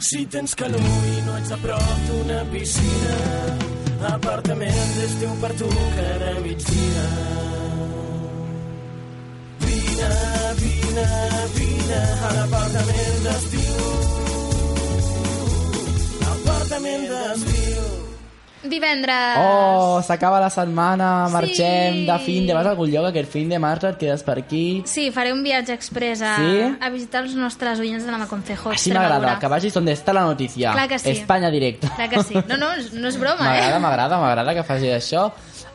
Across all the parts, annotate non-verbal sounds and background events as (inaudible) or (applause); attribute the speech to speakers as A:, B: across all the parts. A: Si tens calor i no ets a prop d'una piscina, apartament d'estiu per tu cada migdia. Vine, vine, vine a l'apartament d'estiu. Apartament d'estiu.
B: Divendres.
C: Oh, s'acaba la setmana, marxem
B: Sí.
C: de fin de... Vas a algun lloc aquest fin de marxa, et quedes per aquí...
B: Sí, faré un viatge express a,
C: Sí?
B: a visitar els nostres oients de la Maconcejo.
C: Així
B: Extremadura.
C: m'agrada, que vagis on està la notícia.
B: Clar que sí.
C: Espanya directa.
B: Clar que sí. No, no, no és broma,
C: (laughs) M'agrada,
B: eh?
C: m'agrada, m'agrada que faci això.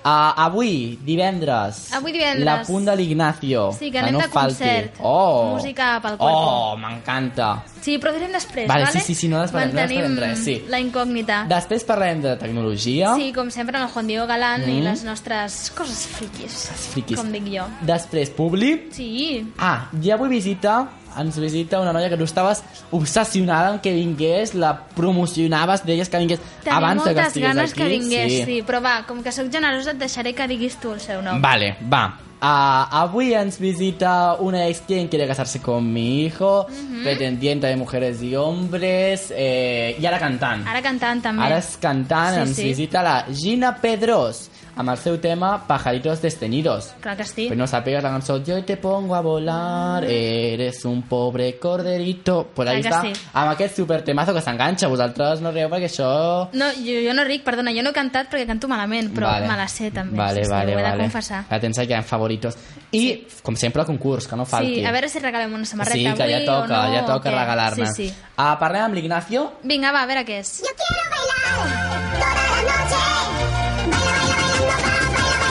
C: Uh, avui, divendres.
B: Avui divendres.
C: La punta de l'Ignacio.
B: Sí, que anem
C: no
B: de
C: falti.
B: concert.
C: Oh.
B: Música pel
C: Oh,
B: cuerpo.
C: m'encanta.
B: Sí, però ho direm després,
C: Vale,
B: vale?
C: sí, sí, sí, no desvelem- no
B: Mantenim
C: desvelem res, sí.
B: la incògnita.
C: Després parlem de tecnologia.
B: Sí, com sempre, amb el Juan Diego Galán
C: Mm.
B: i les nostres coses friquis,
C: Els friquis.
B: com dic jo.
C: Després, públic.
B: Sí,
C: Ah, i avui visita, ens ah, visita una noia que tu estaves obsessionada amb que vingués, la promocionaves, deies que vingués
B: tenia
C: abans de que
B: moltes
C: estigués
B: ganes
C: aquí.
B: que vingués, sí. sí. Però va, com que sóc generosa, et deixaré que diguis tu el seu nom.
C: Vale, va. Ah, avui ens visita una ex quien quiere casarse con mi hijo, pretendiente de mujeres y hombres, eh, i ara cantant.
B: Ara cantant, també.
C: Ara és cantant,
B: Sí,
C: ens
B: sí.
C: visita la Gina Pedros, amb el seu tema Pajaritos Desteñidos.
B: Clar que sí.
C: Pues nos apegas la canción Yo te pongo a volar Eres un pobre corderito Pues ahí
B: Clar
C: está
B: que
C: sí.
B: sí.
C: Amb aquest super temazo que s'enganxa Vosaltres no rieu perquè això...
B: No, jo, jo no ric, perdona, jo no he cantat perquè canto malament, però vale. me la sé també,
C: Vale,
B: sí, sí,
C: vale,
B: ho he de
C: vale.
B: confessar.
C: La tens aquí en favoritos. I, com sempre, el concurs, que no falti.
B: Sí, a veure si regalem una samarreta
C: Sí, que
B: avui
C: ja toca,
B: o no.
C: ja toca
B: o què.
C: regalar-ne.
B: Sí, sí.
C: Ah, parlem amb l'Ignacio.
B: Vinga, va, a veure què és.
D: Yo quiero bailar toda la noche. Baila, baila, bailando, va, baila, baila,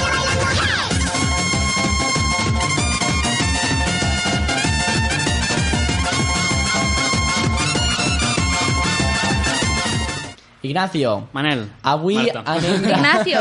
D: bailando, hey.
C: Ignacio,
E: Manel,
C: avui
E: Marta.
C: anem...
B: (laughs)
C: (laughs)
B: Ignacio.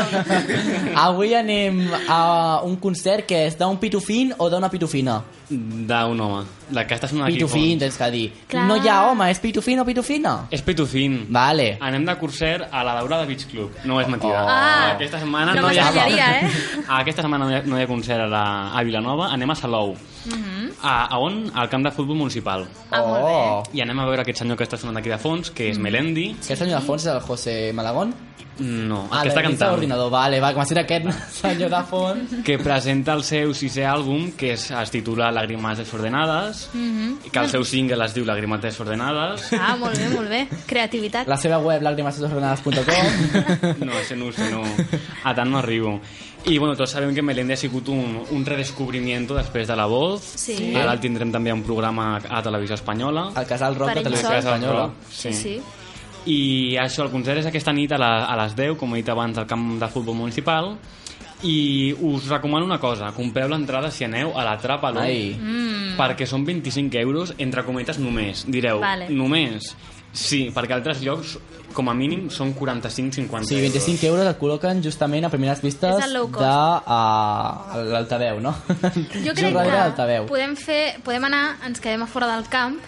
C: avui anem a un concert que és d'un pitufín o d'una pitufina.
E: d'un home, del que està sonant aquí.
C: Pitufín, tens que dir.
B: Clar.
C: No hi ha home, és pitufín o pitufina.
E: fons. És pitufín.
C: Vale.
E: Anem de concert a la Daura de Beach Club. No és mentida.
C: Oh.
B: Ah,
E: Aquesta setmana
B: no
E: no hi ha...
B: m'estranyaria, eh?
E: (laughs) Aquesta setmana no hi ha, no hi ha concert a, la, a Vilanova. Anem a Salou.
C: Mhm.
E: a, a on? Al camp de futbol municipal.
B: Ah, molt bé.
E: I anem a veure aquest senyor que està sonant aquí de fons, que és
C: Mhm.
E: Melendi.
C: Oh. Aquest senyor de fons és el José Malagón?
E: No, el
C: Ah,
E: que està cantant.
C: l'ordinador, vale, va, com si era aquest (laughs) senyor de fons.
E: Que presenta el seu sisè àlbum, que es, es titula Lágrimas desordenades,
C: Mhm.
E: que el seu single es diu Lágrimas desordenades.
B: Ah, molt bé, molt bé. Creativitat.
C: La seva web,
B: (laughs)
C: lagrimasordenades.com.
E: No, ese no, ese no. A tant no arribo. I bueno, tots sabem que Melendi ha sigut un, un redescobrimiento després de La Voz.
B: Sí.
E: Ara el tindrem també un programa a Televisió Espanyola.
C: El casal rock
B: Per
C: de
B: ell
C: televisió
B: sol.
C: espanyola.
B: Sí, sí.
E: I això, el concert és aquesta nit a, la, a les 10, com he dit abans, al camp de futbol municipal. I us recomano una cosa, compreu l'entrada si aneu a la Tràpalo,
C: Ai.
B: Mm.
E: perquè són 25 euros, entre cometes, només. Direu,
B: Vale.
E: només. Sí, perquè altres llocs, com a mínim, són 45-50
C: Sí, 25 euros et col·loquen justament a primeres vistes
B: És el low cost.
C: de uh, l'altaveu, no?
B: Jo
C: És un
B: crec
C: ràdio
B: que
C: d'altaveu.
B: podem, fer, podem anar, ens quedem a fora del camp,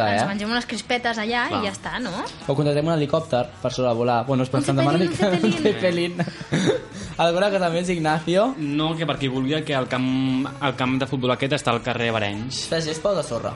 B: ens, man-
C: eh?
B: ens mengem unes crispetes allà
E: Va.
B: i ja està, no?
C: O contratem un helicòpter per sobrevolar. Bueno, es pensen demanar
B: un
C: (laughs) un
B: Zeppelin.
C: Zeppelin. Alguna cosa més, Ignacio?
E: No, que per qui vulgui, que el camp, el camp de futbol aquest està al carrer Barenys.
C: De gespa o de sorra?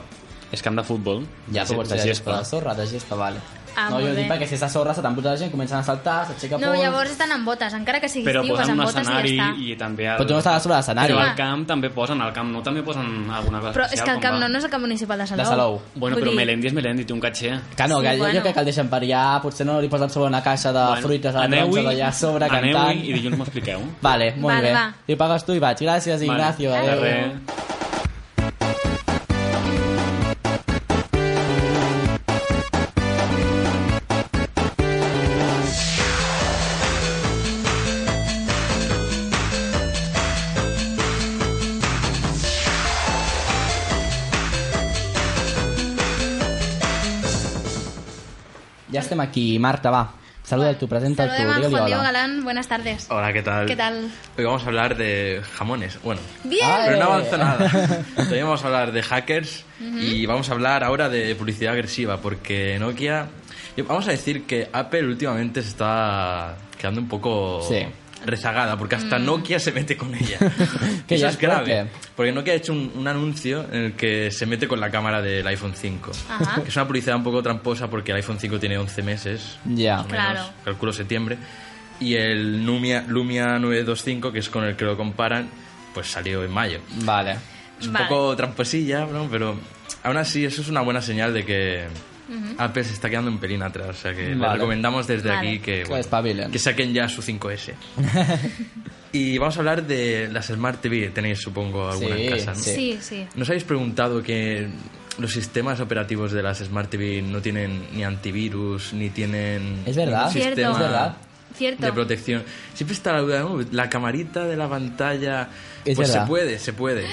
E: És camp de futbol.
C: Ja,
E: Sí,
C: però pot ser de gespa. De sorra, de gespa, vale.
B: Ah,
C: no,
B: molt
C: jo
B: bé.
C: dic perquè si és de sorra s'atamputa la gent, comencen a saltar, s'aixeca
B: No,
C: pols.
B: llavors estan amb botes, encara que sigui
E: Però
B: estiu, vas
E: posen
B: amb
E: un
B: botes i
E: escenari
B: ja està.
E: i, també... El...
C: Però tu Pues no estàs a sobre l'escenari.
E: Però
B: Clar.
E: al camp també posen, al camp no també posen alguna cosa
B: Però és
E: especial.
B: que el
E: com
B: camp
E: va.
B: no, no és el camp municipal de Salou.
C: De Salou.
E: Bueno,
B: Vull
E: però
B: dir,
E: Melendi és Melendi, té un catxer.
C: Que no,
B: Sí,
C: que jo,
B: bueno.
C: jo crec que el deixen per allà, potser pues, no li posen sobre una caixa de
E: Bueno,
C: Ah, fruites a la
E: aneu-hi,
C: taronja d'allà a sobre
E: aneu-hi
C: cantant.
E: i dilluns m'ho expliqueu.
C: Vale, molt
B: Vale,
C: bé.
B: va.
C: Li pagues tu i vaig. Gràcies, Ignacio.
E: Vale.
C: adéu.
E: De res.
C: Ja estem aquí. Marta, va. Saluda'l tu, presenta'l tu.
B: Saludem a
C: Digue-li
B: Juan Diego
C: hola.
B: Galán, buenas tardes.
F: Hola, ¿qué tal?
B: ¿Qué tal?
F: Hoy vamos a hablar de jamones. Bueno,
B: Bien.
C: Ah,
F: pero no
C: Eh.
F: avanza nada. Todavía vamos a hablar de hackers y vamos a hablar ahora de publicidad agresiva porque Nokia... yo- Vamos a decir que Apple últimamente se está quedando un poco
C: Sí.
F: rezagada, porque hasta Nokia se mete con ella. (laughs)
C: Que
F: Eso
C: ya
F: es
C: es
F: grave,
C: fuerte.
F: porque Nokia ha hecho un, un anuncio en el que se mete con la cámara del iPhone 5.
B: Ajá.
F: Que Es una publicidad un poco tramposa porque el iPhone 5 tiene 11 meses,
C: Ya.
F: más o menos,
B: Claro.
F: calculo septiembre, y el Lumia, Lumia 925, que es con el que lo comparan, pues salió en mayo.
C: Vale.
F: Es un
B: Vale.
F: poco tramposilla, ¿no? pero aún así eso es una buena señal de que Apple se está quedando un pelín atrás. O sea que le
C: Vale.
F: recomendamos desde
B: Vale.
F: aquí que,
C: Que espabilen.
F: que saquen ya
C: (laughs)
F: su 5S. y vamos a hablar de las Smart TV. Tenéis, supongo, alguna
C: Sí,
F: en casa, ¿no?
C: sí.
B: Sí, sí.
F: ¿Nos habéis preguntado que los sistemas operativos de las Smart TV no tienen ni antivirus, ni tienen...
C: Es verdad.
F: ningún
B: Cierto.
F: sistema
C: Es verdad.
B: Cierto.
F: de protección. Siempre está la duda, ¿no? la camarita de la pantalla.
C: Es
F: pues
C: verdad. Ah.
F: se puede, se puede.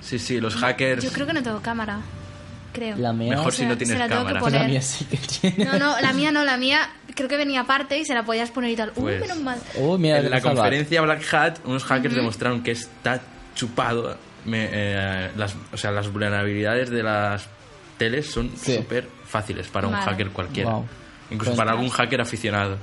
F: Sí, sí, los hackers.
B: Yo creo que no tengo cámara. Creo.
C: La mía.
F: Mejor
B: se
F: si
B: la-
F: no
B: se
F: tienes
B: la tengo que
F: cámara.
B: poner.
C: La mía sí que tiene.
B: No, no, la mía no, la mía creo que venía aparte y se la podías poner y tal. Uy,
F: Pues-
B: menos mal.
C: Uy, Uh, mira,
F: en la
C: salva.
F: conferencia Black Hat, unos hackers demostraron que está chupado. Me- eh, las, o sea, las vulnerabilidades de las teles son
C: Sí.
F: súper fáciles para un
B: Vale.
F: hacker cualquiera.
C: Wow.
F: Incluso
C: Pues-
F: para algún hacker aficionado.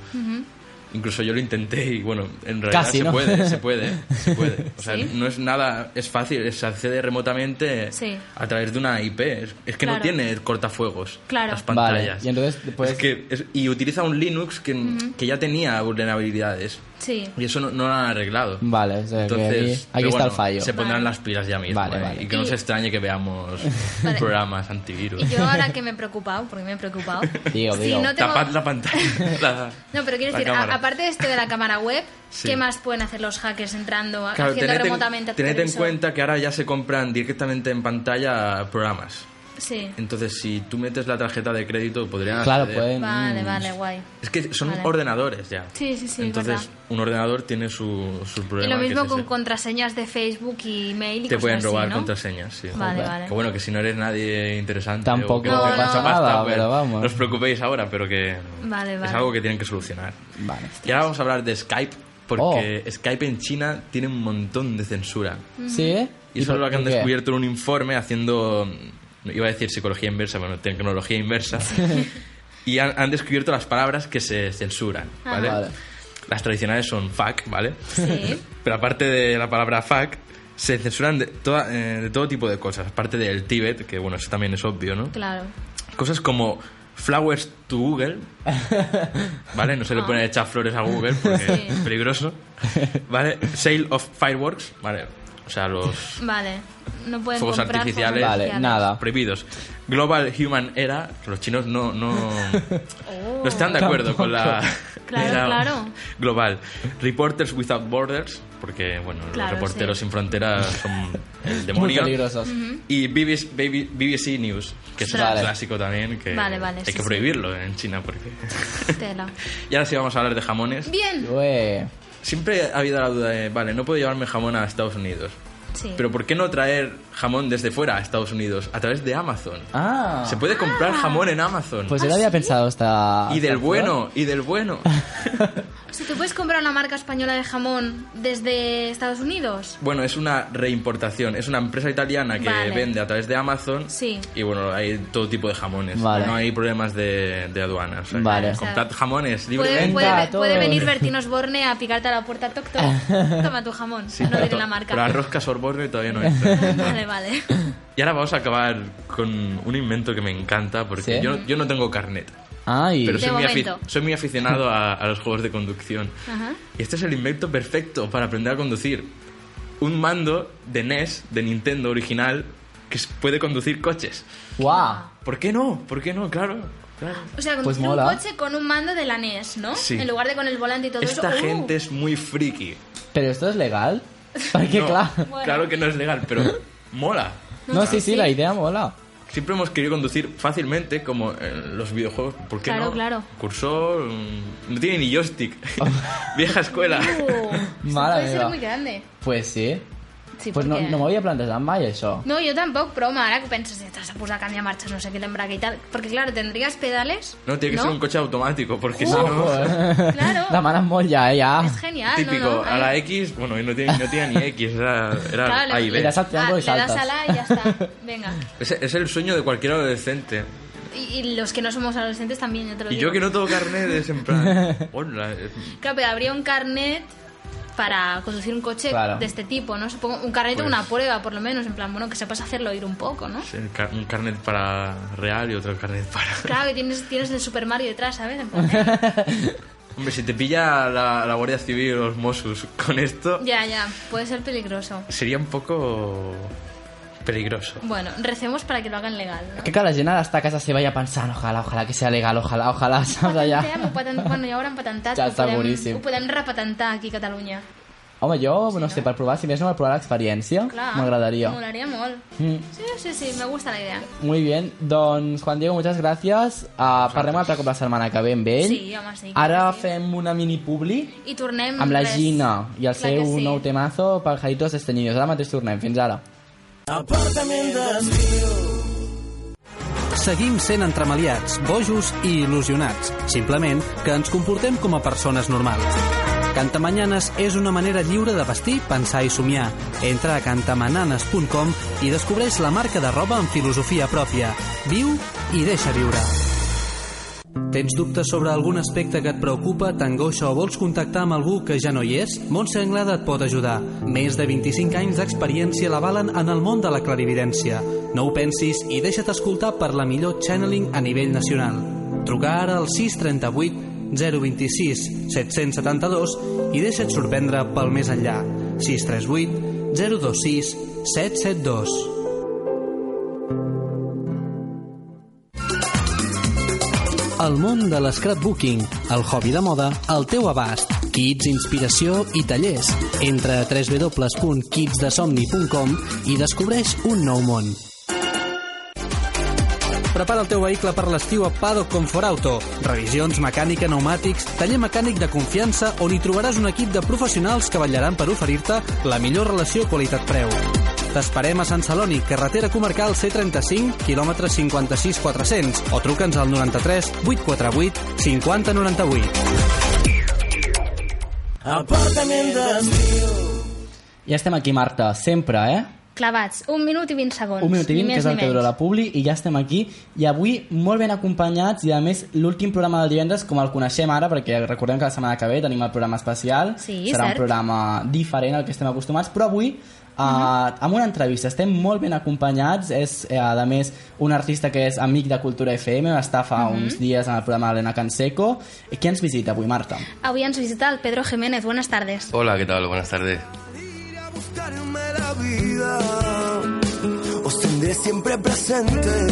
F: Incluso yo lo intenté y bueno, en realidad
C: Casi,
F: se
C: ¿no?
F: puede, se puede, ¿eh? se
B: (laughs)
F: puede. O sea,
B: ¿Sí?
F: no es nada, es fácil, se accede remotamente
B: Sí.
F: a través de una IP. Es, es que no
B: Claro.
F: tiene cortafuegos
B: Claro.
F: las
C: Vale,
F: pantallas.
C: y entonces, pues-
F: Es que- es- y utiliza un Linux que, que ya tenía vulnerabilidades.
B: Sí.
F: Y eso no, no lo han arreglado.
C: Vale, o sea, que aquí,
F: Entonces,
C: aquí
F: pero
C: está
F: bueno,
C: el fallo.
F: Se pondrán
B: Vale.
F: las pilas ya mismo.
C: Vale,
F: eh,
C: vale.
F: Y que no
B: Y-
F: se extrañe que veamos
B: (laughs) Vale.
F: programas antivirus.
B: Y yo ahora que me he preocupado, porque me he preocupado.
C: (laughs) Digo,
B: si
C: digo.
B: No, tengo-
F: Tapad la
B: (laughs)
F: pantalla. la-
B: no, pero quiero
F: la
B: decir, a-
F: cámara.
B: aparte de esto de la cámara web,
F: Sí.
B: ¿qué más pueden hacer los hackers entrando, a-
F: Claro,
B: haciendo
F: tened,
B: remotamente
F: en,
B: a tu
F: tened en
B: televisor?
F: cuenta que ahora ya se compran directamente en pantalla programas.
B: Sí.
F: Entonces, si tú metes la tarjeta de crédito, podrían
C: Claro, pues.
F: acceder.
C: pueden. mm,
B: Vale, vale, guay.
F: Es que son
B: Vale.
F: ordenadores ya.
B: Sí, sí, sí,
F: Entonces,
B: verdad.
F: un ordenador tiene su, su
B: Y
F: problema.
B: lo
F: que es
B: mismo con
F: ese.
B: contraseñas de Facebook y mail y
F: Te
B: cosas
F: pueden
B: así,
F: robar
B: ¿no?
F: contraseñas, sí.
B: Vale, vale.
F: Que bueno, que si no eres nadie interesante.
C: Tampoco
F: o que
B: No,
F: tengas
B: no.
F: mucha
C: nada,
F: pues,
C: pero vamos.
F: No os preocupéis ahora, pero que
B: Vale,
F: es
B: vale.
F: algo que tienen que solucionar.
C: Vale.
F: Y ahora vamos a hablar de Skype, porque
C: Oh.
F: Skype en China tiene un montón de censura.
C: ¿Sí?
F: Y eso es
C: por
F: lo que han
C: qué?
F: descubierto en un informe haciendo, iba a decir psicología inversa, bueno, tecnología inversa. (laughs) y han, han descubierto las palabras que se censuran,
B: Ah,
F: ¿vale?
C: Vale.
F: Las tradicionales son fuck, ¿vale? (laughs)
B: Sí.
F: Pero aparte de la palabra fuck, se censuran de, toda- eh, de todo tipo de cosas. Aparte del Tíbet, que bueno, eso también es obvio, ¿no?
B: Claro.
F: Cosas como flowers to Google, ¿vale? No se le pone echar flores a Google porque
B: Sí.
F: es peligroso, ¿vale? Sale of fireworks, ¿vale? O sea, los
B: Vale. No pueden
F: Fuegos
B: comprar
F: artificiales.
B: fuegos
C: Vale,
B: artificiales.
C: nada.
F: prohibidos. Global Human Era, que los chinos no,
B: (laughs)
F: no,
B: Oh.
F: no están de acuerdo con la (laughs)
B: Claro,
F: era
B: claro.
F: global. Reporters Without Borders, porque bueno,
B: Claro,
F: los reporteros
B: sí.
F: sin fronteras son el
C: Muy
F: demonio.
C: peligrosos.
F: Y BBC, baby- BBC News, que es
C: Vale.
F: un clásico también, que
B: Vale, vale,
F: hay
B: sí,
F: que
B: sí.
F: prohibirlo en China. porque (laughs)
B: Tela.
F: Y ahora sí vamos a hablar de jamones.
B: Bien.
C: Ué.
F: Siempre ha habido la duda de, vale, no puedo llevarme jamón a Estados Unidos.
B: Sí.
F: Pero ¿por qué no traer jamón desde fuera a Estados Unidos? A través de Amazon.
C: Ah.
F: Se puede comprar jamón en Amazon.
C: Pues yo lo había pensado hasta.
F: y del
C: hasta
F: bueno, y
B: (laughs)
F: del bueno.
B: O sea, ¿tú puedes comprar una marca española de jamón desde Estados Unidos?
F: Bueno, es una reimportación. Es una empresa italiana que
B: Vale.
F: vende a través de Amazon.
B: Sí.
F: Y bueno, hay todo tipo de jamones.
C: Vale.
F: No hay problemas de, de aduanas. O sea, eh,
C: Vale.
F: Comprad jamones
B: Puede,
F: libremente.
B: puede,
C: a
B: puede
C: todos.
B: venir
F: (laughs)
B: Bertín Osborne a picarte a la puerta, toc,
C: (laughs)
B: toc. Toma tu jamón. no diré la marca.
F: Pero arroz casorborne todavía no entra.
B: (laughs) Vale, vale.
F: y ahora vamos a acabar con un invento que me encanta porque
C: ¿Sí?
F: yo, yo no tengo carnet.
C: Ay.
F: Pero soy muy, afi-
B: momento.
F: soy muy aficionado a, a los juegos de conducción.
B: Ajá.
F: Y este es el invento perfecto para aprender a conducir. Un mando de NES, de Nintendo original, que s- puede conducir coches.
C: Guau.
F: ¿Por qué no? ¿Por qué no? Claro. claro.
B: O sea,
C: Pues
B: conducir
C: mola.
B: un coche con un mando de la NES, ¿no?
F: Sí.
B: En lugar de con el volante y todo
F: Esta
B: eso. ¡Uh!
F: gente es muy friki.
C: ¿Pero esto es
F: (laughs)
C: legal? Porque,
F: No,
C: claro.
F: Claro que no es legal, pero mola.
C: No, sí, sí, la idea mola.
F: Siempre hemos querido conducir fácilmente, como en los videojuegos. ¿Por qué
B: Claro,
F: no?
B: claro.
F: Cursor. mm, No tiene ni joystick. Vieja escuela.
B: Uh,
C: (laughs) Mala
B: puede ser
C: mía.
B: muy grande.
C: Pues sí.
B: Sí,
C: Pues no,
B: perquè-
C: no m'havia plantejat mai això.
B: No, yo tampoco, pero home, ahora que penses, "Ya te vas a posar a cambiar marchas, no sé qué embrague y tal. Porque claro, tendrías pedales.
F: No, tiene que ser un coche automático, porque si no.
C: Ojo, eh? (laughs)
B: Claro.
C: Demanes molt ja, eh, ja.
B: Es genial,
F: Típico,
B: Ah, ¿no? no?
F: a la X, bueno, y no tenía, no tenía ni X, era, era
B: Claro,
F: A y B.
C: Le das al
B: Ah,
C: triángulo
B: le
C: y
B: das a
C: saltas.
B: la y ya
C: (laughs)
B: está. Venga.
F: Es, es el sueño de cualquier adolescente.
B: Y, y los que no somos adolescentes también, yo te lo
F: Y
B: digo. (laughs)
F: yo que no tengo carnet es en plan... Hola, eh,
B: Claro, pero habría un carnet para conducir un coche
C: Claro.
B: de este tipo, ¿no? Supongo un carnet
F: Pues-
B: una prueba, por lo menos, en plan, bueno, que sepas hacerlo ir un poco, ¿no?
F: Sí, un car- un carnet para real y otro carnet para... (laughs)
B: Claro, que tienes, tienes el Super Mario detrás, ¿sabes? En
C: (laughs)
B: plan, eh,
F: Hombre, si te pilla la, la Guardia Civil o los Mossos con esto,
B: ya, ya, puede ser peligroso.
F: sería un poco peligroso.
B: Bueno, recemos para que lo hagan legal, ¿no?
C: Que claro, llenar hasta casa se vaya pensant, ojalà, ojalà que sea legal, ojalà, (laughs) ojalà, saps allà?
B: Patentem, ho patent... bueno, ja ho hauran patentat,
C: Ja
B: ho,
C: està
B: podem,
C: boníssim.
B: ho podem repatentar aquí a Catalunya.
C: Home, jo, no sé, per provar, si més no, per provar l'experiència,
B: Clar,
C: m'agradaria.
B: M'agradaria molt.
C: Mm.
B: Sí, sí, sí, me gusta la idea.
C: Muy bien, doncs Juan Diego, muchas gracias. Uh, parlem un altre cop la setmana que ve amb ell.
B: Sí, home, sí, clar
C: Ara
B: que sí.
C: fem una mini publi
B: I tornem...
C: amb la
B: res.
C: Gina i el
B: Clar
C: seu
B: que sí.
C: nou temazo Pajaritos Estreñidos. Ara mateix tornem, fins ara.
A: Apartament d'estiu.
G: Seguim sent entremaliats, bojos i il·lusionats, simplement que ens comportem com a persones normals. Cantamanyanes és una manera lliure de vestir, pensar i somiar. Entra a cantamananes.com i descobreix la marca de roba amb filosofia pròpia. Viu i deixa viure. Tens dubtes sobre algun aspecte que et preocupa, t'angoixa o vols contactar amb algú que ja no hi és? Montse Anglada et pot ajudar. Més de 25 anys d'experiència l'avalen en el món de la clarividència. No ho pensis i deixa't escoltar per la millor channeling a nivell nacional. Truca ara al 638 026 772 i deixa't sorprendre pel més enllà. 638 026 772 El món de l'escrapbooking, el hobby de moda, el teu abast, kits, inspiració i tallers. Entra a www.kitsdesomni.com i descobreix un nou món. Prepara el teu vehicle per l'estiu a Paddock Comfort Auto. Revisions, mecànica, pneumàtics, taller mecànic de confiança on hi trobaràs un equip de professionals que vetllaran per oferir-te la millor relació qualitat-preu. T'esperem a Sant Celoni, carretera comarcal C35, quilòmetre 56 400 o truca'ns al 93 848 50 98.
A: Apartament d'estiu.
C: Ja estem aquí, Marta, sempre, eh?
B: Clavats, un minut i vint segons.
C: Un minut i vint,
B: ni
C: que és
B: més
C: el
B: ni
C: que dura
B: menys.
C: la publi, i ja estem aquí. I avui molt ben acompanyats, i a més l'últim programa del divendres, com el coneixem ara, perquè recordem que la setmana que ve tenim el programa especial,
B: Sí,
C: serà
B: cert.
C: un programa diferent al que estem acostumats, però avui Uh,
B: Mhm.
C: amb una entrevista, estem molt ben acompanyats és eh, a més un artista que és amic de Cultura FM va estar fa
B: Mhm.
C: uns dies en el programa d'Helena Canseco I qui ens visita avui Marta?
B: Avui ens visita el Pedro Jiménez. Buenas tardes.
H: Hola, ¿qué tal? Buenas tardes.
I: buscarme la vida. Os tendré siempre presentes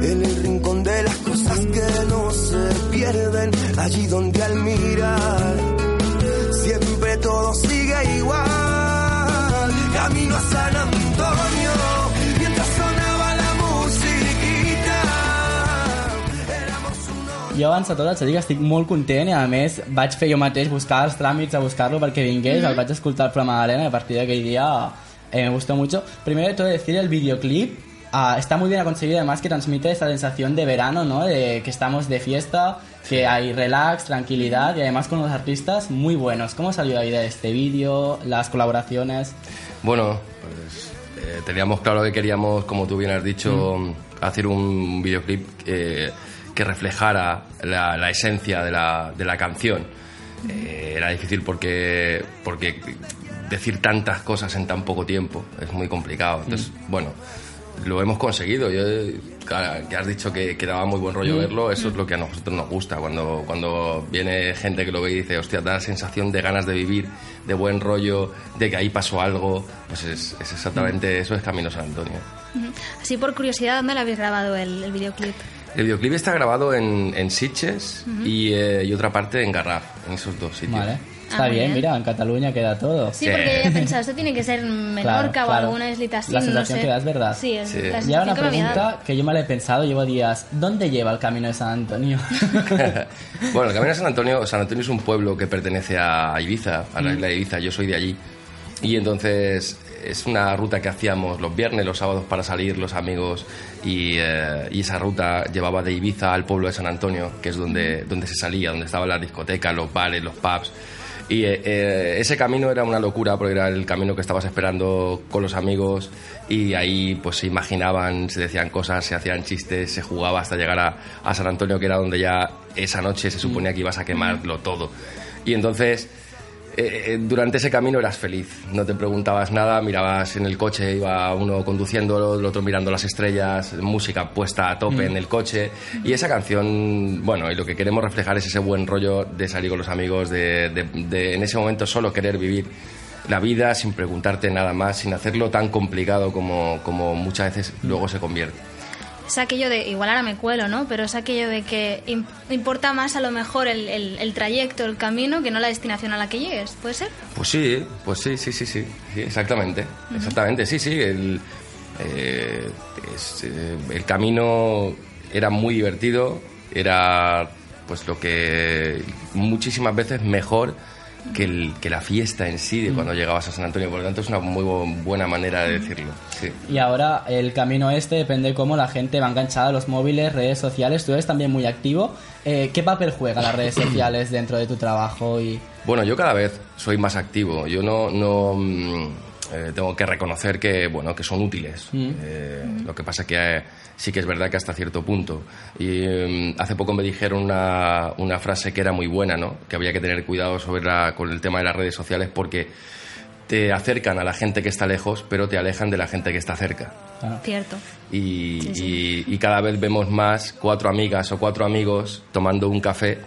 I: en el rincón de las cosas que no se pierden, allí donde al mirar siempre todo sigue igual. Camino a San Antonio mientras sonaba la musiquita.
C: Jo abans de tot haig de dir que estic molt content i a més vaig fer jo mateix buscar els tràmits a buscar-lo perquè vingués,
B: Mhm.
C: el vaig escoltar el programa d'Helena i a partir d'aquell dia eh, me gustó mucho. Primero de todo decir el videoclip ah, está muy bien conseguido además que transmite esa sensación de verano, ¿no? De que estamos de fiesta, que hay relax, tranquilidad y además con los artistas muy buenos. ¿Cómo salió la idea de este vídeo, las colaboraciones?
H: Bueno, pues, eh, teníamos claro que queríamos, como tú bien has dicho, hacer un videoclip eh, que reflejara la, la esencia de la, de la canción. Eh, era difícil porque, porque decir tantas cosas en tan poco tiempo es muy complicado. Entonces, bueno, lo hemos conseguido. Yo, cara, que has dicho que, que daba muy buen rollo verlo, eso es lo que a nosotros nos gusta. Cuando, cuando viene gente que lo ve y dice, hostia, da la sensación de ganas de vivir, de buen rollo, de que ahí pasó algo, pues es, es exactamente eso, es Camino San Antonio.
B: Así por curiosidad, ¿dónde lo habéis grabado el, el videoclip?
H: El videoclip está grabado en, en Sitges y, eh, y otra parte en Garraf, en esos dos sitios.
C: Vale.
B: Ah,
C: Está
B: muy
C: bien,
B: bien.
C: mira, en Cataluña queda todo.
B: Sí,
H: Sí.
B: porque he pensado, esto tiene que ser en Menorca
C: Claro,
B: o
C: claro.
B: alguna islita así,
C: La
B: no
C: sensación
B: sé.
C: que da es verdad.
B: Sí, es la
H: Sí.
C: Y ahora
B: sensación
C: una
B: que me había dado.
C: pregunta que yo me la he pensado, llevo días. ¿Dónde lleva el camino de San Antonio?
H: bueno, el Camino de San Antonio, San Antonio es un pueblo que pertenece a Ibiza, a la isla de Ibiza, yo soy de allí. Y entonces es una ruta que hacíamos los viernes, los sábados para salir los amigos y, eh, y esa ruta llevaba de Ibiza al pueblo de San Antonio, que es donde, donde se salía, donde estaban las discotecas, los bares, los pubs. Y eh, eh, ese camino era una locura porque era el camino que estabas esperando con los amigos y ahí pues se imaginaban, se decían cosas, se hacían chistes, se jugaba hasta llegar a, a San Antonio que era donde ya esa noche se suponía que ibas a quemarlo todo. Y entonces eh, eh, eh, durante ese camino eras feliz, no te preguntabas nada, mirabas en el coche, iba uno conduciendo, el otro mirando las estrellas, música pues, puesta a tope en el coche. Y esa canción, bueno, y lo que queremos reflejar es ese buen rollo de salir con los amigos, de, de- de en ese momento solo querer vivir la vida sin preguntarte nada más, sin hacerlo tan complicado como, como muchas veces luego se convierte.
B: Es aquello de, igual ahora me cuelo, ¿no? Pero es aquello de que im- importa más a lo mejor el, el- el trayecto, el camino, que no la destinación a la que llegues, ¿puede ser?
H: Pues sí, pues sí, sí, sí, sí, sí, exactamente, exactamente, sí, sí, el, eh, es, eh, el camino era muy divertido, era pues lo que muchísimas veces mejor que, el- que la fiesta en sí de cuando llegabas a San Antonio, por lo tanto es una muy bu- buena manera de decirlo, sí.
C: Y ahora el camino este depende cómo la gente va enganchada a los móviles, redes sociales. Tú eres también muy activo. Eh, ¿Qué papel juegan las redes sociales dentro de tu trabajo? Y...
H: Bueno, yo cada vez soy más activo. Yo no, no mm, eh, tengo que reconocer que bueno que son útiles. Eh, Lo que pasa que eh, sí que es verdad que hasta cierto punto. Y mm, hace poco me dijeron una, una frase que era muy buena, ¿no? Que había que tener cuidado sobre la- con el tema de las redes sociales porque te acercan a la gente que está lejos, pero te alejan de la gente que está cerca.
B: Cierto.
H: Y, y- y cada vez vemos más cuatro amigas o cuatro amigos tomando un café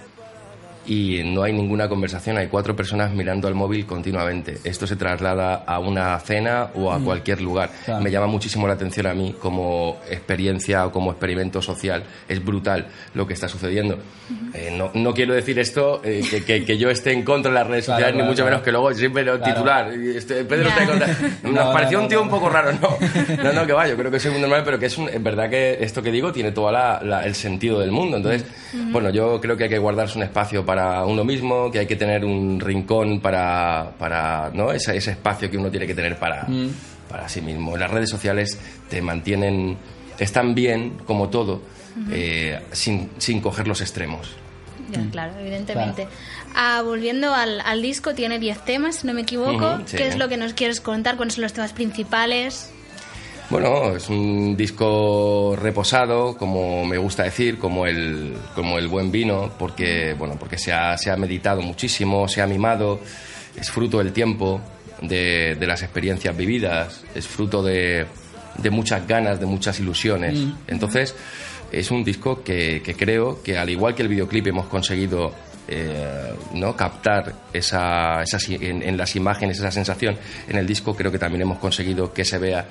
H: y no hay ninguna conversación, hay cuatro personas mirando al móvil continuamente. Esto se traslada a una cena o a cualquier lugar.
C: Mm. Claro.
H: Me llama muchísimo la atención a mí como experiencia o como experimento social. Es brutal lo que está sucediendo. Eh, no, no quiero decir esto eh, que, que- que yo esté en contra de las redes
C: Claro,
H: sociales,
C: claro,
H: ni mucho
C: claro.
H: menos que luego siempre lo
C: Claro.
H: titular. y este, Pedro está en
B: Ya.
H: contra.
C: (laughs)
H: (laughs) Nos
C: No, no,
H: pareció
C: no,
H: un tío
C: no.
H: un poco raro, no. (laughs) No, no, que va, yo creo que soy muy normal, pero que es, un- es verdad que esto que digo tiene todo el sentido del mundo. Entonces, bueno, yo creo que hay que guardarse un espacio para uno mismo, que hay que tener un rincón para, para ¿no? Ese, ese espacio que uno tiene que tener para, para sí mismo. Las redes sociales te mantienen, están bien, como todo, eh, sin, sin coger los extremos.
B: Ya,
H: Mm.
B: claro, evidentemente. Ah, volviendo al, al disco, tiene 10 temas, si no me equivoco.
H: Ujú, sí.
B: ¿Qué es lo que nos quieres contar? ¿Cuáles son los temas principales?
H: Bueno, es un disco reposado, como me gusta decir, como el, como el buen vino, porque, bueno, porque se, ha, se ha meditado muchísimo, se ha mimado, es fruto del tiempo, de, de las experiencias vividas, es fruto de, de muchas ganas, de muchas ilusiones. Entonces, es un disco que, que creo que, al igual que el videoclip, hemos conseguido eh, ¿no? captar esa, esas i- en, en las imágenes esa sensación. En el disco creo que también hemos conseguido que se vea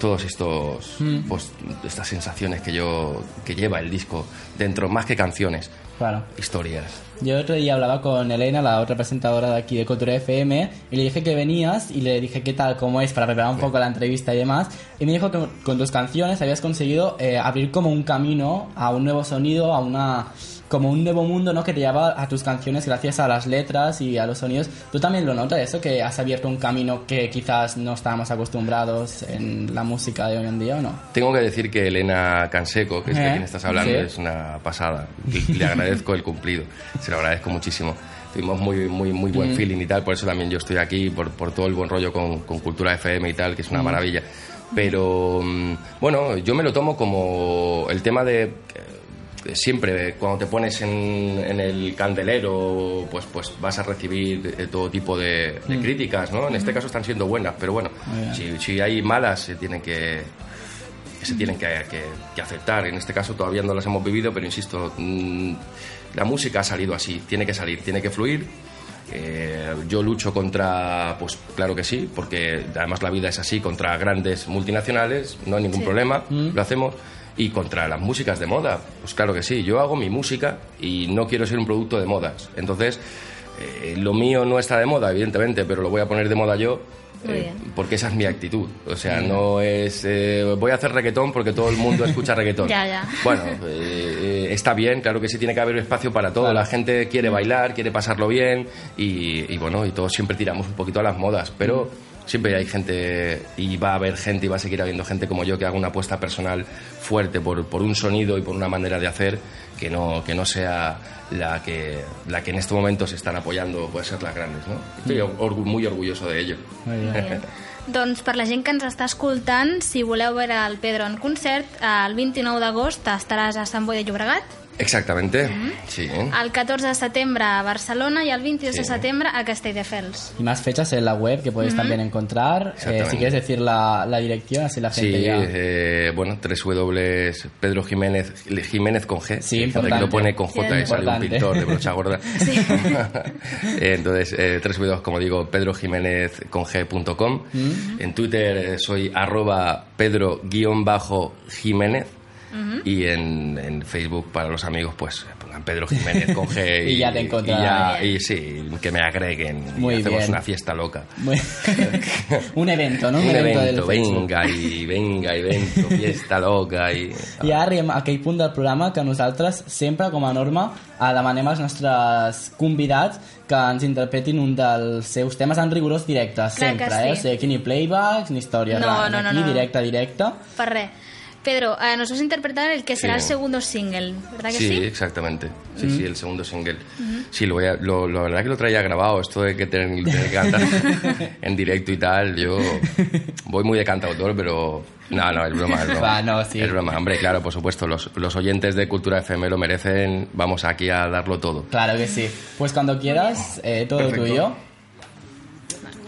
H: todos estos pues, estas sensaciones que yo que lleva el disco dentro más que canciones
C: Claro.
H: historias
C: Yo el otro día hablaba con Elena, la otra presentadora de aquí de Cultura FM, y le dije que venías y le dije qué tal, cómo es, para preparar un poco la entrevista y demás. Y me dijo que con tus canciones habías conseguido eh, abrir como un camino a un nuevo sonido, a una como un nuevo mundo, ¿no? Que te lleva a tus canciones gracias a las letras y a los sonidos. ¿Tú también lo notas eso, que has abierto un camino que quizás no estábamos acostumbrados en la música de hoy en día o no?
H: Tengo que decir que Elena Canseco, que es de
C: ¿Eh?
H: quien estás hablando,
C: Sí.
H: es una pasada. Le- Le agradezco el cumplido, se lo agradezco muchísimo. Tuvimos muy, muy, muy buen
C: Mm.
H: feeling y tal, por eso también yo estoy aquí, por, por todo el buen rollo con, con Cultura FM y tal, que es
C: Mm.
H: una maravilla. Pero mm, bueno, yo me lo tomo como el tema de eh, siempre eh, cuando te pones en, en el candelero pues pues vas a recibir eh, todo tipo de,
C: Mm.
H: de críticas no en este caso están siendo buenas pero bueno si, si hay malas se tienen que que se tienen que, que- que aceptar. En este caso todavía no las hemos vivido, pero insisto, mm, la música ha salido así, tiene que salir, tiene que fluir. Eh, yo lucho contra, pues claro que sí, porque además la vida es así, contra grandes multinacionales, no hay ningún problema, lo hacemos. Y contra las músicas de moda, pues claro que sí, yo hago mi música y no quiero ser un producto de modas. Entonces, eh, lo mío no está de moda, evidentemente, pero lo voy a poner de moda yo.
B: Muy
H: eh,
B: bien.
H: porque esa es mi actitud. O sea, no es eh, voy a hacer reggaetón porque todo el mundo escucha reggaetón.
B: Ya, ya.
H: Bueno, eh, eh, está bien, claro que sí tiene que haber espacio para todo.
C: Claro.
H: La gente quiere bailar, quiere pasarlo bien y, y bueno, y todos siempre tiramos un poquito a las modas, pero siempre hay gente y va a haber gente y va a seguir habiendo gente como yo que haga una apuesta personal fuerte por, por un sonido y por una manera de hacer que no, que no sea la que, la que en este momento se están apoyando, puede ser las grandes, ¿no? Estoy orgu- muy orgulloso de ello.
C: Muy bien.
B: Molt bé. doncs per la gent que ens està escoltant, si voleu veure el Pedro en concert, el 29 d'agost estaràs a Sant Boi de Llobregat
H: Exactamente, sí. ¿eh?
B: El 14 de setembre a Barcelona y el 22 de
H: Sí.
B: setembre a Castelldefels.
C: Y más fechas en la web que podéis también encontrar. Eh, si
H: Exactamente.
C: quieres decir la, la dirección, así la
H: Sí,
C: gente ya.
H: eh, bueno, tres W Pedro Jiménez, Jiménez con G.
C: Sí,
H: Hay gente que
C: importante.
H: lo pone con
B: Sí,
H: J y sale un
C: importante.
H: pintor de brocha gorda. Eh, (laughs) Entonces, eh, tres W, como digo, Pedro Jiménez con G.com. En Twitter eh, soy arroba Pedro guión bajo Jiménez. Y en, en Facebook, para los amigos, pues pongan Pedro Jiménez con G.
C: (laughs) Y ya te encontrarán.
H: Y, ya- y sí, que me agreguen.
C: Muy
H: y hacemos
C: bien.
H: una fiesta loca. (laughs)
C: Muy- un evento, ¿no?
H: Un
C: del
H: evento,
C: Facebook.
H: venga i venga
C: (laughs)
H: i vento, fiesta loca i...
C: I ara arribem a aquell punt del programa que nosaltres sempre, com a norma, eh, demanem als nostres convidats que ens interpretin un dels seus temes en rigorós directe, sempre,
B: que sí.
C: eh? O sigui, aquí ni playbacks ni històries,
B: No,
C: res,
B: no, no,
C: aquí
B: no.
C: directe, directe.
B: Per res. Pedro, eh, nos vas a interpretar el que será
H: Sí.
B: el segundo single, ¿verdad que
H: Sí,
B: sí?
H: exactamente. Sí,
C: Mm.
H: sí, el segundo single. Sí, lo voy a, lo, la verdad que lo traía grabado, esto de que tener,
C: (laughs)
H: tener que cantar en directo y tal. Yo voy muy de cantautor, pero. No, no, es broma,
C: (laughs)
H: es broma.
C: Va, no, sí.
H: Es broma, hombre, claro, por supuesto. Los, los oyentes de Cultura FM lo merecen. Vamos aquí a darlo todo.
C: Claro que sí. Pues cuando quieras, eh, todo
H: Perfecto.
C: tuyo.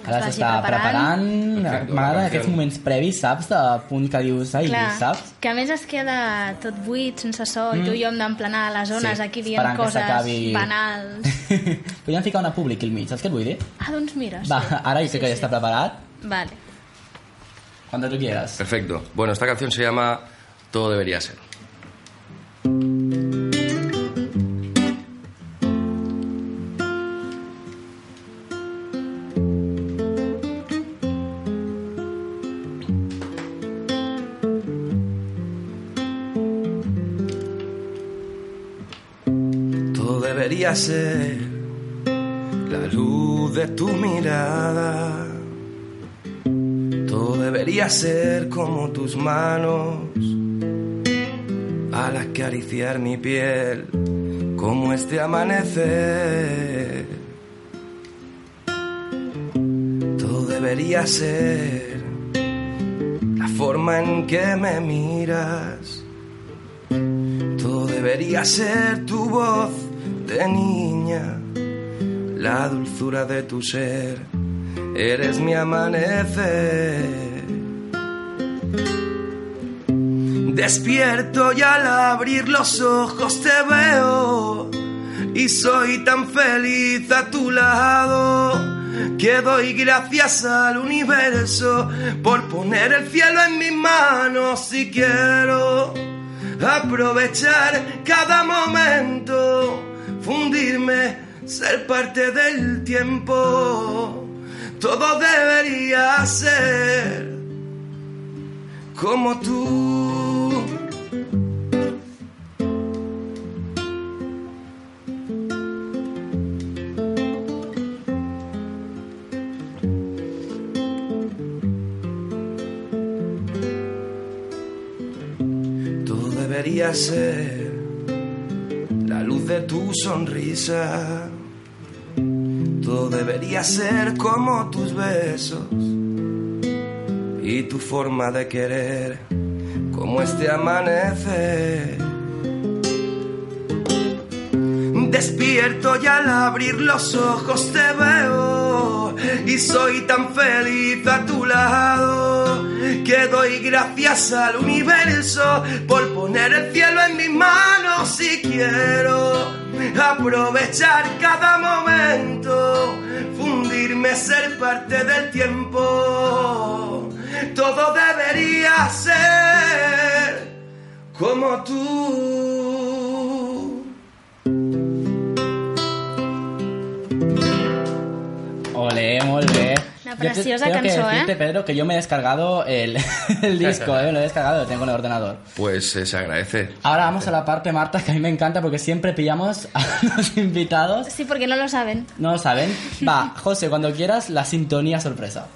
C: Ara
B: vagi
C: s'està preparant.
B: preparant.
H: Perfecte,
C: M'agraden
H: la
C: aquests
H: canción.
C: moments previs, saps? De punt que dius, ai,
B: Clar,
C: saps? (laughs) Mm.
B: que a més es queda tot buit, sense so, i tu i jo hem d'emplenar les zones
C: Sí,
B: aquí
C: esperant
B: dient
C: que
B: coses
C: s'acabi.
B: banals.
C: Podríem ficar una pública al mig, saps què et vull dir?
B: Ah, doncs mira,
C: Va,
B: sí.
C: ara jo crec que ja està preparat.
B: Vale.
C: Cuando tú quieras.
H: Perfecto. Bueno, esta canción se llama Todo debería ser.
I: Todo debería ser la luz de tu mirada. Todo debería ser como tus manos al acariciar mi piel, como este amanecer. Todo debería ser la forma en que me miras. Todo debería ser tu voz de niña, la dulzura de tu ser. Eres mi amanecer. Despierto y al abrir los ojos te veo y soy tan feliz a tu lado que doy gracias al universo por poner el cielo en mis manos y quiero aprovechar cada momento, fundirme, ser parte del tiempo. Todo debería ser como tú. Todo debería ser la luz de tu sonrisa. Todo debería ser como tus besos y tu forma de querer, como este amanecer. Despierto y al abrir los ojos te veo y soy tan feliz a tu lado que doy gracias al universo por poner el cielo en mis manos y quiero aprovechar cada momento, fundirme, ser parte del tiempo. Todo debería ser como tú.
C: Ole, molt bé.
B: Una
C: Yo te-
B: preciosa
C: tengo
B: cançó,
C: que decirte,
B: ¿eh?
C: Pedro, que yo me he descargado el, (laughs) el disco, ¿eh? Me lo he descargado, lo tengo en el ordenador.
H: Pues eh, se agradece.
C: Ahora vamos a la parte, Marta, que a mí me encanta porque siempre pillamos a (laughs) los invitados.
B: Sí, porque no lo saben.
C: No lo saben. Va, José, cuando quieras, la sintonía sorpresa.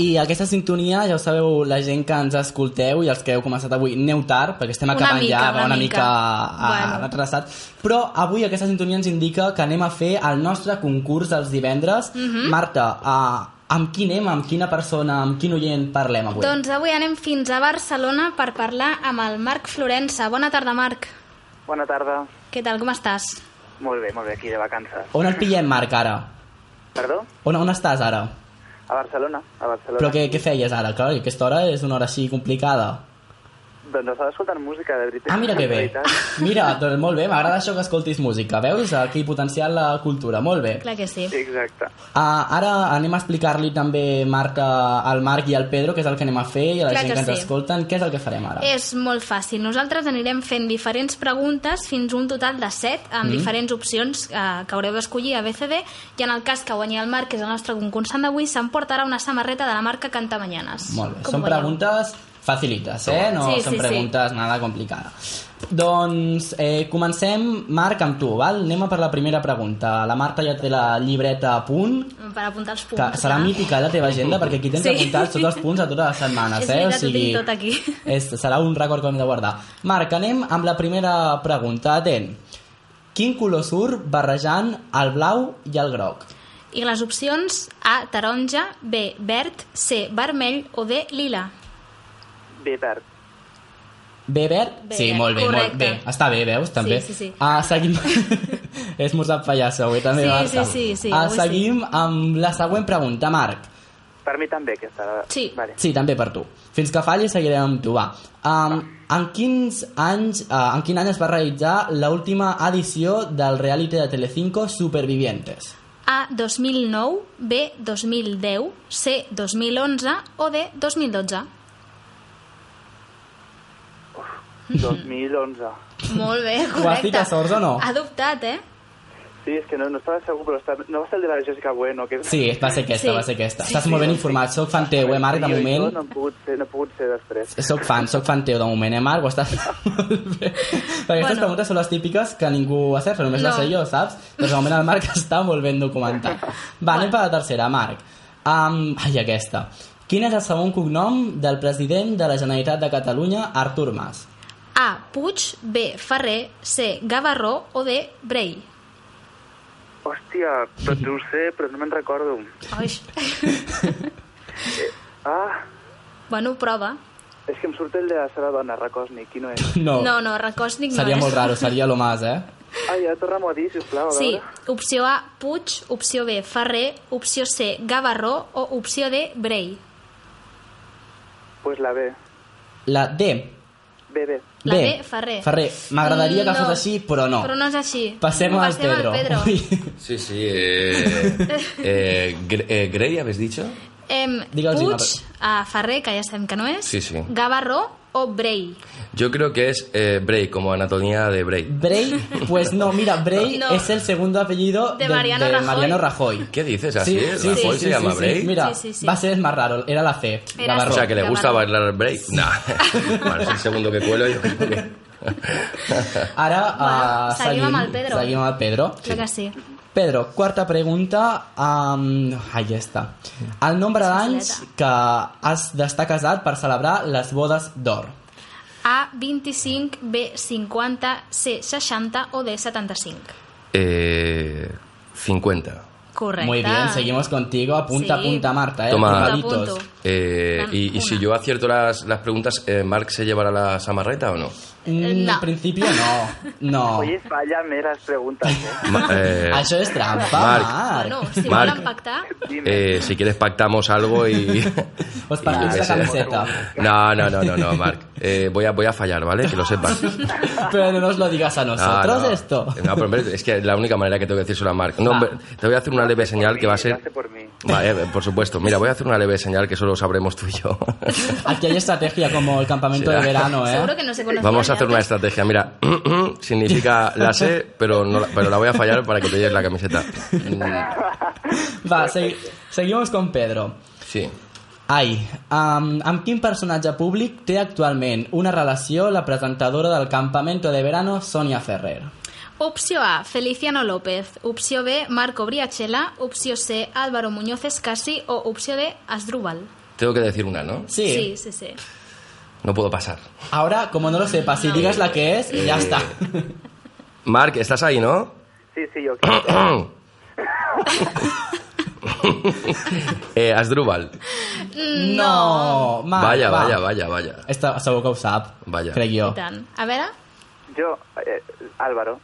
C: I aquesta sintonia, ja ho sabeu, la gent que ens escolteu i els que heu començat avui, aneu tard, perquè estem
B: Una
C: acabant
B: mica,
C: ja,
B: una
C: va una mica, ah,
B: mica.
C: a,
B: Bueno.
C: retrasat. Però avui aquesta sintonia ens indica que anem a fer el nostre concurs dels divendres.
B: Mhm.
C: Marta, ah, amb qui anem, amb quina persona, amb quin oient parlem avui?
B: Doncs avui anem fins a Barcelona per parlar amb el Marc Florença. Bona tarda, Marc.
J: Bona tarda.
B: Què tal, com estàs?
J: Molt bé, molt bé, aquí de vacances.
C: On el pillem, Marc, ara?
J: Perdó?
C: On, on estàs ara?
J: A Barcelona, a Barcelona.
C: Però què, què feies ara? Clar, que aquesta hora és una hora així complicada.
J: Doncs estava escoltant música, de veritat.
C: Ah, mira que
J: De
C: bé.
J: veritat.
C: (laughs) Mira, doncs molt bé, m'agrada això que escoltis música. Veus? Aquí potenciant la cultura. Molt bé.
B: Clar que sí.
C: (laughs)
J: Exacte.
C: Ah, ara anem a explicar-li també, Marc, a- al Marc i al Pedro, que és el que anem a fer, i a la
B: Clar
C: gent
B: que
C: que ens
B: sí. Eh,
C: escolten. Què és el que farem ara?
B: És molt fàcil. Nosaltres anirem fent diferents preguntes fins a un total de 7 amb
C: Mm.
B: diferents opcions eh, que haureu d'escollir a BCD i en el cas que guanyi el Marc, que és el nostre concursant d'avui, s'emportarà una samarreta de la marca Cantamanyanes.
C: Molt bé.
B: Com
C: Són
B: veieu?
C: preguntes facilites, eh? No
B: Sí,
C: són
B: sí, sí.
C: preguntes nada complicades. Doncs eh, comencem, Marc, amb tu, val? Anem a per la primera pregunta. La Marta ja té la llibreta a punt.
B: Per apuntar els punts.
C: Que serà
B: clar.
C: mítica eh, la teva agenda perquè aquí tens
B: Sí.
C: apuntats
B: (laughs)
C: tots els punts a totes les setmanes.
B: És
C: eh?
B: veritat, ho tinc tot aquí.
C: (laughs) És, serà un rècord que hem de guardar. Marc, anem amb la primera pregunta. Atent. Quin color surt barrejant el blau i el groc?
B: I les opcions A, taronja, B, verd, C, vermell o D, lila.
J: Bé tard.
C: Bé verd?
B: Bé
C: sí,
B: verd,
C: molt bé, molt
B: correcte.
C: bé. Està bé, veus, també.
B: Sí, sí, sí.
C: Ah, seguim... (laughs) És mossap pallasso, avui també,
B: Sí,
C: Marta.
B: sí, sí, sí,
C: ah,
B: avui sí.
C: seguim amb la següent pregunta, Marc.
J: Per mi també aquesta. la-
B: Sí.
J: Vale.
C: Sí, també per tu. Fins que falli seguirem amb tu, va. Um, en, quins anys, uh, en quin any es va realitzar l'última edició del reality de Telecinco Supervivientes?
B: A, 2009, B, 2010, C, 2011 o D,
C: (laughs)
B: 2012.
J: 2011.
B: Molt bé, correcte.
C: Ho has dit a sorts o no?
B: Ha dubtat, eh?
J: Sí, és que no, no estava segur, però estava... no va ser el de la Jessica Bueno, que és...
C: Sí, va ser aquesta,
B: Sí.
C: va ser aquesta.
B: Sí,
C: Estàs
B: sí,
C: molt ben
J: sí.
C: informat, sóc fan teu, eh, Marc, de
J: Jo i
C: moment.
J: jo No he pogut ser, no he pogut ser després.
C: Soc fan, soc fan teu de moment, eh, Marc? Ho estàs (laughs) molt bé. Perquè aquestes
B: Bueno.
C: preguntes són les típiques que ningú acerta, només les
B: No.
C: sé jo, saps? Doncs de moment el Marc (laughs) està molt ben documentat. Va, anem per la tercera, Marc. Um, ai, aquesta. Quin és el segon cognom del president de la Generalitat de Catalunya, Artur Mas? (laughs)
B: A, Puig, B, Ferrer, C, Gavarró o D, Brei.
J: Hòstia, doncs ho sé, però no me'n recordo.
B: Ai.
J: (laughs) Ah,
B: bueno, prova.
J: és que em surt el de la Sara Dona, Rakosnik, qui no és?
C: No,
B: No, no, Rakosnik no
C: Oh. seria
B: és.
C: molt raro, seria lo Mas, eh?
J: Ah, ja, torna-m'ho a dir, sisplau, a
B: Sí,
J: veure.
B: opció A, Puig, opció B, Ferrer, opció C, Gavarró o opció D, Brei.
J: Pues la B.
C: La D.
J: B, B.
B: La
C: B.
B: D, Ferrer. Mm,
C: Ferrer. M'agradaria que
B: No,
C: fos així, però no.
B: Però no és així.
C: Passem, al
B: Passem
C: Pedro.
B: al Pedro.
C: (laughs) Ui.
H: Sí, sí. Eh, eh, Gre- eh, Grey, ¿habéis dicho?
B: Em,
C: Digue'ls una,
B: Puig, a Ferrer, que ja sabem que no és,
H: Sí, sí.
B: Gavarró o Brei.
H: Yo creo que es eh, Bray, como anatomía de Bray.
C: Bray, pues no, mira, Bray
B: No.
C: es el segundo apellido
B: De Mariano Rajoy.
C: Mariano Rajoy.
H: ¿Qué dices? ¿Así es? ¿La
B: sí,
H: Foy
B: sí,
H: se llama
C: sí,
H: Bray?
C: Mira,
B: Sí, sí, sí.
C: va a ser el más raro, era la C.
B: Era
H: O
C: Gavarró.
H: sea, que le
B: Gavarró.
H: gusta bailar break. Nah. (laughs) bueno, es el segundo que cuelo yo. creo que-
C: Ara
B: Bueno,
C: eh,
B: seguim amb el Pedro.
C: Seguim amb el Pedro.
B: Clar que sí.
C: Pedro, quarta pregunta. Um, ai, ja està. El nombre d'anys que has d'estar casat per celebrar les bodes d'or.
B: A, 25, B, 50, C, 60 o D, 75.
H: Eh, 50.
B: Correcte.
C: Muy bien, seguimos contigo. Apunta,
B: Sí.
C: apunta, Marta. Eh?
H: Toma.
C: Apuntaditos.
B: Apunto, apunto.
H: Eh, y, y si
B: Una.
H: yo acierto las, las preguntas, eh, ¿Mark se llevará la samarreta o no?
C: Mm,
B: No.
C: En principio no.
H: (laughs)
C: No.
J: Oye, fallame las preguntas, eh.
B: (laughs)
H: Ma- eh,
C: Això és trampa,
H: Marc.
C: Marc.
B: Ah, Bueno,
C: (laughs)
B: si
H: Marc.
B: volen pactar...
J: Dime.
H: eh, si quieres pactamos algo y... (laughs)
C: Pues
H: y
C: partimos
H: que
C: la
H: se-
C: camiseta.
H: No, no, no, no, no Marc. Eh, voy, a, voy a fallar, ¿vale? Que
C: (laughs)
H: lo sepas.
C: Pero no nos lo digas a
H: No,
C: nosotros
H: no.
C: esto.
H: No, pero hombre, es que la única manera que tengo que decírselo a Marc. No,
C: Va.
H: hombre, te voy a hacer una leve señal que va a
J: Hace
H: ser...
J: por mí.
H: Vale, eh, por supuesto. Mira, voy a hacer una leve señal que solo sabremos tú y yo.
C: Aquí hay estrategia como el campamento
H: Sí,
C: de
H: ¿eh?
C: verano,
B: Seguro
C: ¿eh?
B: que no se conocían
H: Vamos a
B: de
H: hacer una
B: antes.
H: estrategia. Mira, (clears throat) significa la sé, pero, no, la- pero la voy a fallar para que te lleves la camiseta. Mm,
C: Va, segui- seguimos con Pedro.
H: Sí.
C: Ai, um, amb quin personatge públic té actualment una relació la presentadora del campamento de verano, Sonia Ferrer?
B: Opció A, Feliciano López. Opció B, Marco Briachela. Opció C, Álvaro Muñoz Escasi. O opció D, Asdrúbal.
H: Tengo que decir una, ¿no?
B: Sí,
C: Sí.
B: sí, sí.
H: No puedo pasar.
C: Ahora, como no lo sepas, si digas la que es, ya
H: Eh.
C: está.
H: Marc, estás ahí, ¿no?
J: Sí, sí, yo creo.
H: (coughs) eh, Asdrúbal.
C: No, Marc,
H: Vaya,
C: va.
H: vaya, vaya, vaya.
C: Esta segur que ho sap,
H: Vaja.
C: crec
B: I
C: jo.
B: tant. A ah, veure...
J: Yo, eh, Álvaro.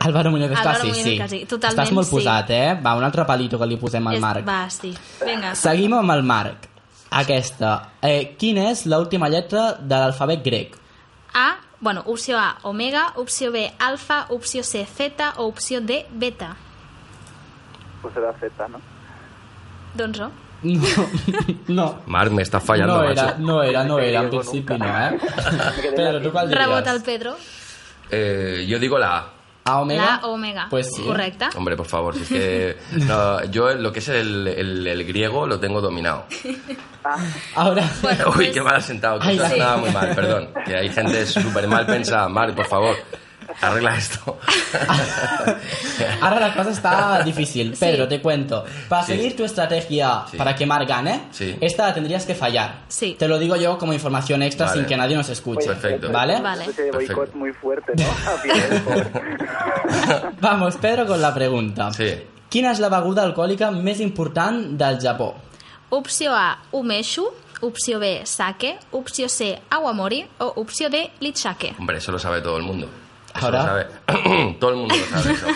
C: Álvaro Muñoz és
B: Álvaro
C: sí,
B: Muñoz
C: sí.
B: Casi, totalment,
C: Estàs molt
B: sí.
C: posat, eh? Va, un altre palito que li posem al
B: és-
C: Marc.
B: Va, sí. Vinga.
C: Seguim amb el Marc. Aquesta. Eh, quina és l'última lletra de l'alfabet grec?
B: A, bueno, opció A, omega, opció B, alfa, opció C, zeta o opció D, beta.
J: Pues era Z, ¿no?
B: Doncs no.
C: No, no.
H: Marc, me estás fallando,
C: no era,
H: macho.
C: no era, no era, en principi no, eh? Pedro, tu qual diries?
B: Rebota el Pedro.
H: Eh, yo digo la A.
C: A omega?
B: La omega.
C: Pues sí.
B: Correcta.
H: Hombre, por favor, si es que no, yo lo que es el, el- el griego lo tengo dominado.
C: Ahora,
B: (laughs) Bueno,
H: Uy,
B: pues,
H: qué mal has sentado, que
C: Ay,
H: esto
C: sí.
H: sonaba muy mal, perdón. Que hay gente súper mal pensada. Marc, por favor, arregla
J: (laughs)
H: esto.
C: (laughs) ahora la cosa está difícil. Pedro, te cuento. Para
H: Sí.
C: seguir tu estrategia
H: Sí.
C: para que Marc gane,
H: Sí.
C: esta la tendrías que fallar.
B: Sí.
C: Te lo digo yo como información extra
H: Vale.
C: sin que nadie nos escuche.
H: Perfecto.
C: ¿Vale?
B: Vale.
J: Ese de
H: Perfecto.
J: boicot muy fuerte, ¿no? A Fidel, por-
H: (laughs)
C: Vamos, Pedro, con la pregunta.
H: Sí.
C: Quina és la beguda alcohòlica més important del Japó?
B: opció A, umeshu, opció B, sake, opció C, awamori o opció D, lichake.
H: Hombre, eso lo sabe todo el mundo. Eso
C: Ahora.
H: lo sabe. todo el mundo lo sabe eso.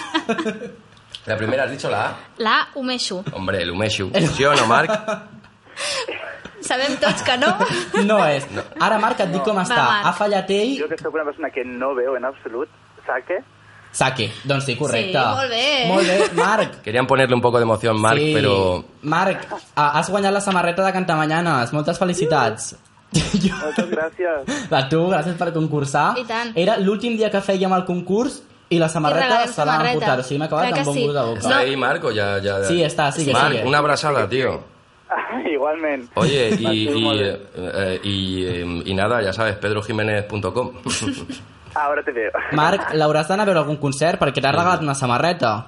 H: La primera has dicho la A.
B: La A, umeshu.
H: Hombre, el umeshu. ¿Sí o no, Marc?
B: Sabem tots que no.
C: No és. Ara, Marc, et dic com està.
B: Marc.
C: Ha fallat ell...
J: Yo que soy una persona que no veo en absoluto. ¿Saque?
C: Saque. Doncs sí, correcte.
B: Sí, molt bé.
C: Molt bé, Marc.
H: Querían ponerle un poco de emoción, (laughs) Marc,
C: sí.
H: pero...
C: Marc, ah, has guanyat la samarreta de Cantamanyanes. Moltes felicitats.
J: Mm.
C: (laughs) Jo...
J: Muchas (laughs) gracias.
C: A tu, gràcies per concursar.
B: I tant.
C: Era l'últim dia que fèiem el concurs i la samarreta
B: regalem
C: se l'han
B: samarreta.
C: emportat. O sigui, m'ha acabat
B: Clar que
C: amb bon
B: sí.
C: gust de
H: ¿Está
C: boca.
B: No.
H: ahí, Marco? Ya, ya...
C: Sí, está, sigue,
H: Marc,
C: sigue.
H: una abrazada, tío.
J: Igualmente.
H: Oye, y,
J: Máximo
H: y,
J: de-
H: eh, eh, y, eh, y nada, ya sabes, pedrojiménez.com.
J: Ahora te veo.
C: Marc, l'hauràs d'anar a veure algun concert perquè t'has regalat una samarreta.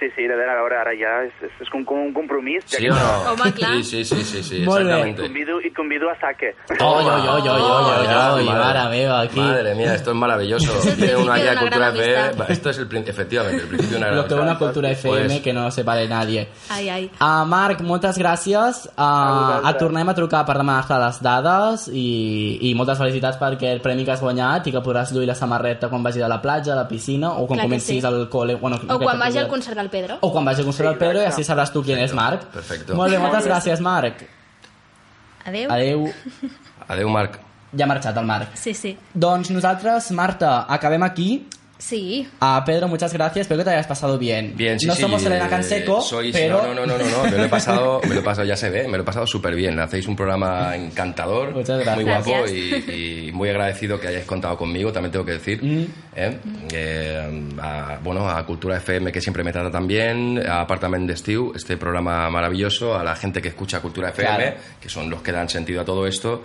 J: Sí, sí, de verdad, ahora, ahora ya es, es, es como como un compromiso. ya
H: ¿Sí
J: que-
H: o no?
B: Home, clar.
H: Sí, sí, sí, sí, sí
C: Molt bé.
H: exactamente.
J: Convido, y convido a Saque.
C: Oi, oi, oi, oi, oi, oi, oi,
H: Madre-
C: mare meva, aquí.
H: Madre mía, esto es maravilloso.
B: Es el
H: Tiene
B: principio
H: uno aquí
B: de
H: a
B: una
H: Cultura
B: gran
H: FM.
B: amistad.
H: Va, Esto es el, prin- efectivamente, el principio de una gran
C: Lo que una
H: amistad.
C: cultura FM
H: Pues,
C: que no separe nadie.
B: Ai, ai.
C: Uh, Marc, moltes gràcies. Uh,
J: vosaltres.
C: et tornem a trucar per demanar-te les dades i, i moltes felicitats per aquest premi que has guanyat i que podràs lluir la samarreta quan vagi a la platja, a la piscina o quan
B: Clar que
C: comencis
B: sí.
C: al col·le... Bueno,
B: O
C: aquest
B: quan vagi al
C: episodi.
B: concert del Pedro.
C: O quan vagi al concert del Pedro i així sabràs tu qui és Marc.
H: Perfecto.
C: Molt bé, moltes gràcies, Marc.
B: Adeu.
C: Adeu.
H: Adeu, Marc.
C: Ja ha marxat el Marc.
B: Sí, sí.
C: Doncs nosaltres, Marta, acabem aquí.
B: Sí.
C: Ah, Pedro, muchas gracias. Espero que te hayas pasado bien.
H: Bien, sí,
C: no
H: sí,
C: somos Elena
H: eh,
C: Canseco,
H: sois-
C: pero...
H: No, no, no, no, no, me lo
C: (laughs)
H: he pasado, me lo he pasado, ya se ve, me lo he pasado súper bien. Hacéis un programa encantador,
C: Muchas gracias.
H: muy guapo
B: Gracias.
H: y, y muy agradecido que hayáis contado conmigo, también tengo que decir.
C: Mm.
H: ¿eh? Eh, a- bueno, a Cultura FM, que siempre me trata tan bien, a Apartament de Steve, este programa maravilloso, a la gente que escucha Cultura FM,
C: Claro.
H: que son los que dan sentido a todo esto.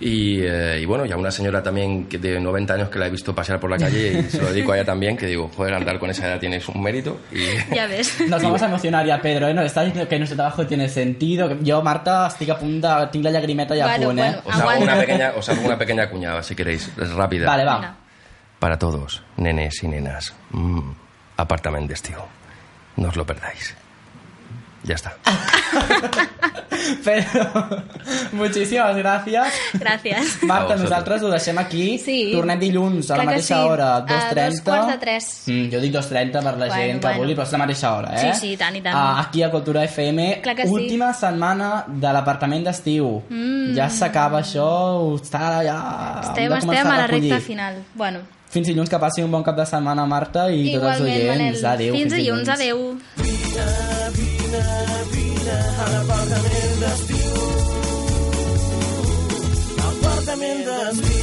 H: Y, eh, y bueno, y a una señora también que de 90 años que la he visto pasear por la calle y se lo dedico a ella también, que digo, joder, andar con esa edad tienes un mérito. Y,
B: Ja
C: (laughs)
B: ves.
C: Nos vamos a emocionar ya, Pedro, ¿eh? Nos está diciendo que nuestro trabajo tiene sentido. que Yo, Marta, estoy a punta, tengo la lagrimeta ya
B: Bueno,
C: pone, ¿eh?
B: bueno.
H: Os hago,
B: Aguanta.
H: una pequeña, os hago una pequeña cuñada, si queréis. Es rápida.
C: Vale, va.
B: Vinga.
H: Para todos, nenes y nenas. Mm, apartamento testigo. No os lo perdáis. Ya está.
C: Pedro, (laughs) muchísimas gracias.
B: Gràcies.
H: A
C: Marta,
H: vosotros.
C: nosaltres ho deixem aquí.
B: Sí.
C: Tornem dilluns a la
B: Clar que
C: mateixa
B: sí.
C: hora,
B: A
C: 2.30.
B: dos quarts de tres.
C: Mm, jo dic 2.30 per la
B: Bueno,
C: gent que
B: bueno.
C: vulgui, però és la mateixa hora, eh?
B: Sí, sí, i tant, i tant.
C: Ah, aquí a Cultura FM,
B: Clar que sí.
C: última setmana de l'apartament d'estiu. Mm. Ja s'acaba això, està ja... hem
B: Estem,
C: de començar
B: estem a la
C: recollir.
B: recta final. Bueno,
C: Fins dilluns, que passi un bon cap de setmana, Marta, i tots els
B: igualment,
C: oients.
B: Manel.
C: Adéu,
B: Fins dilluns, adéu.
A: Apartament d'estiu.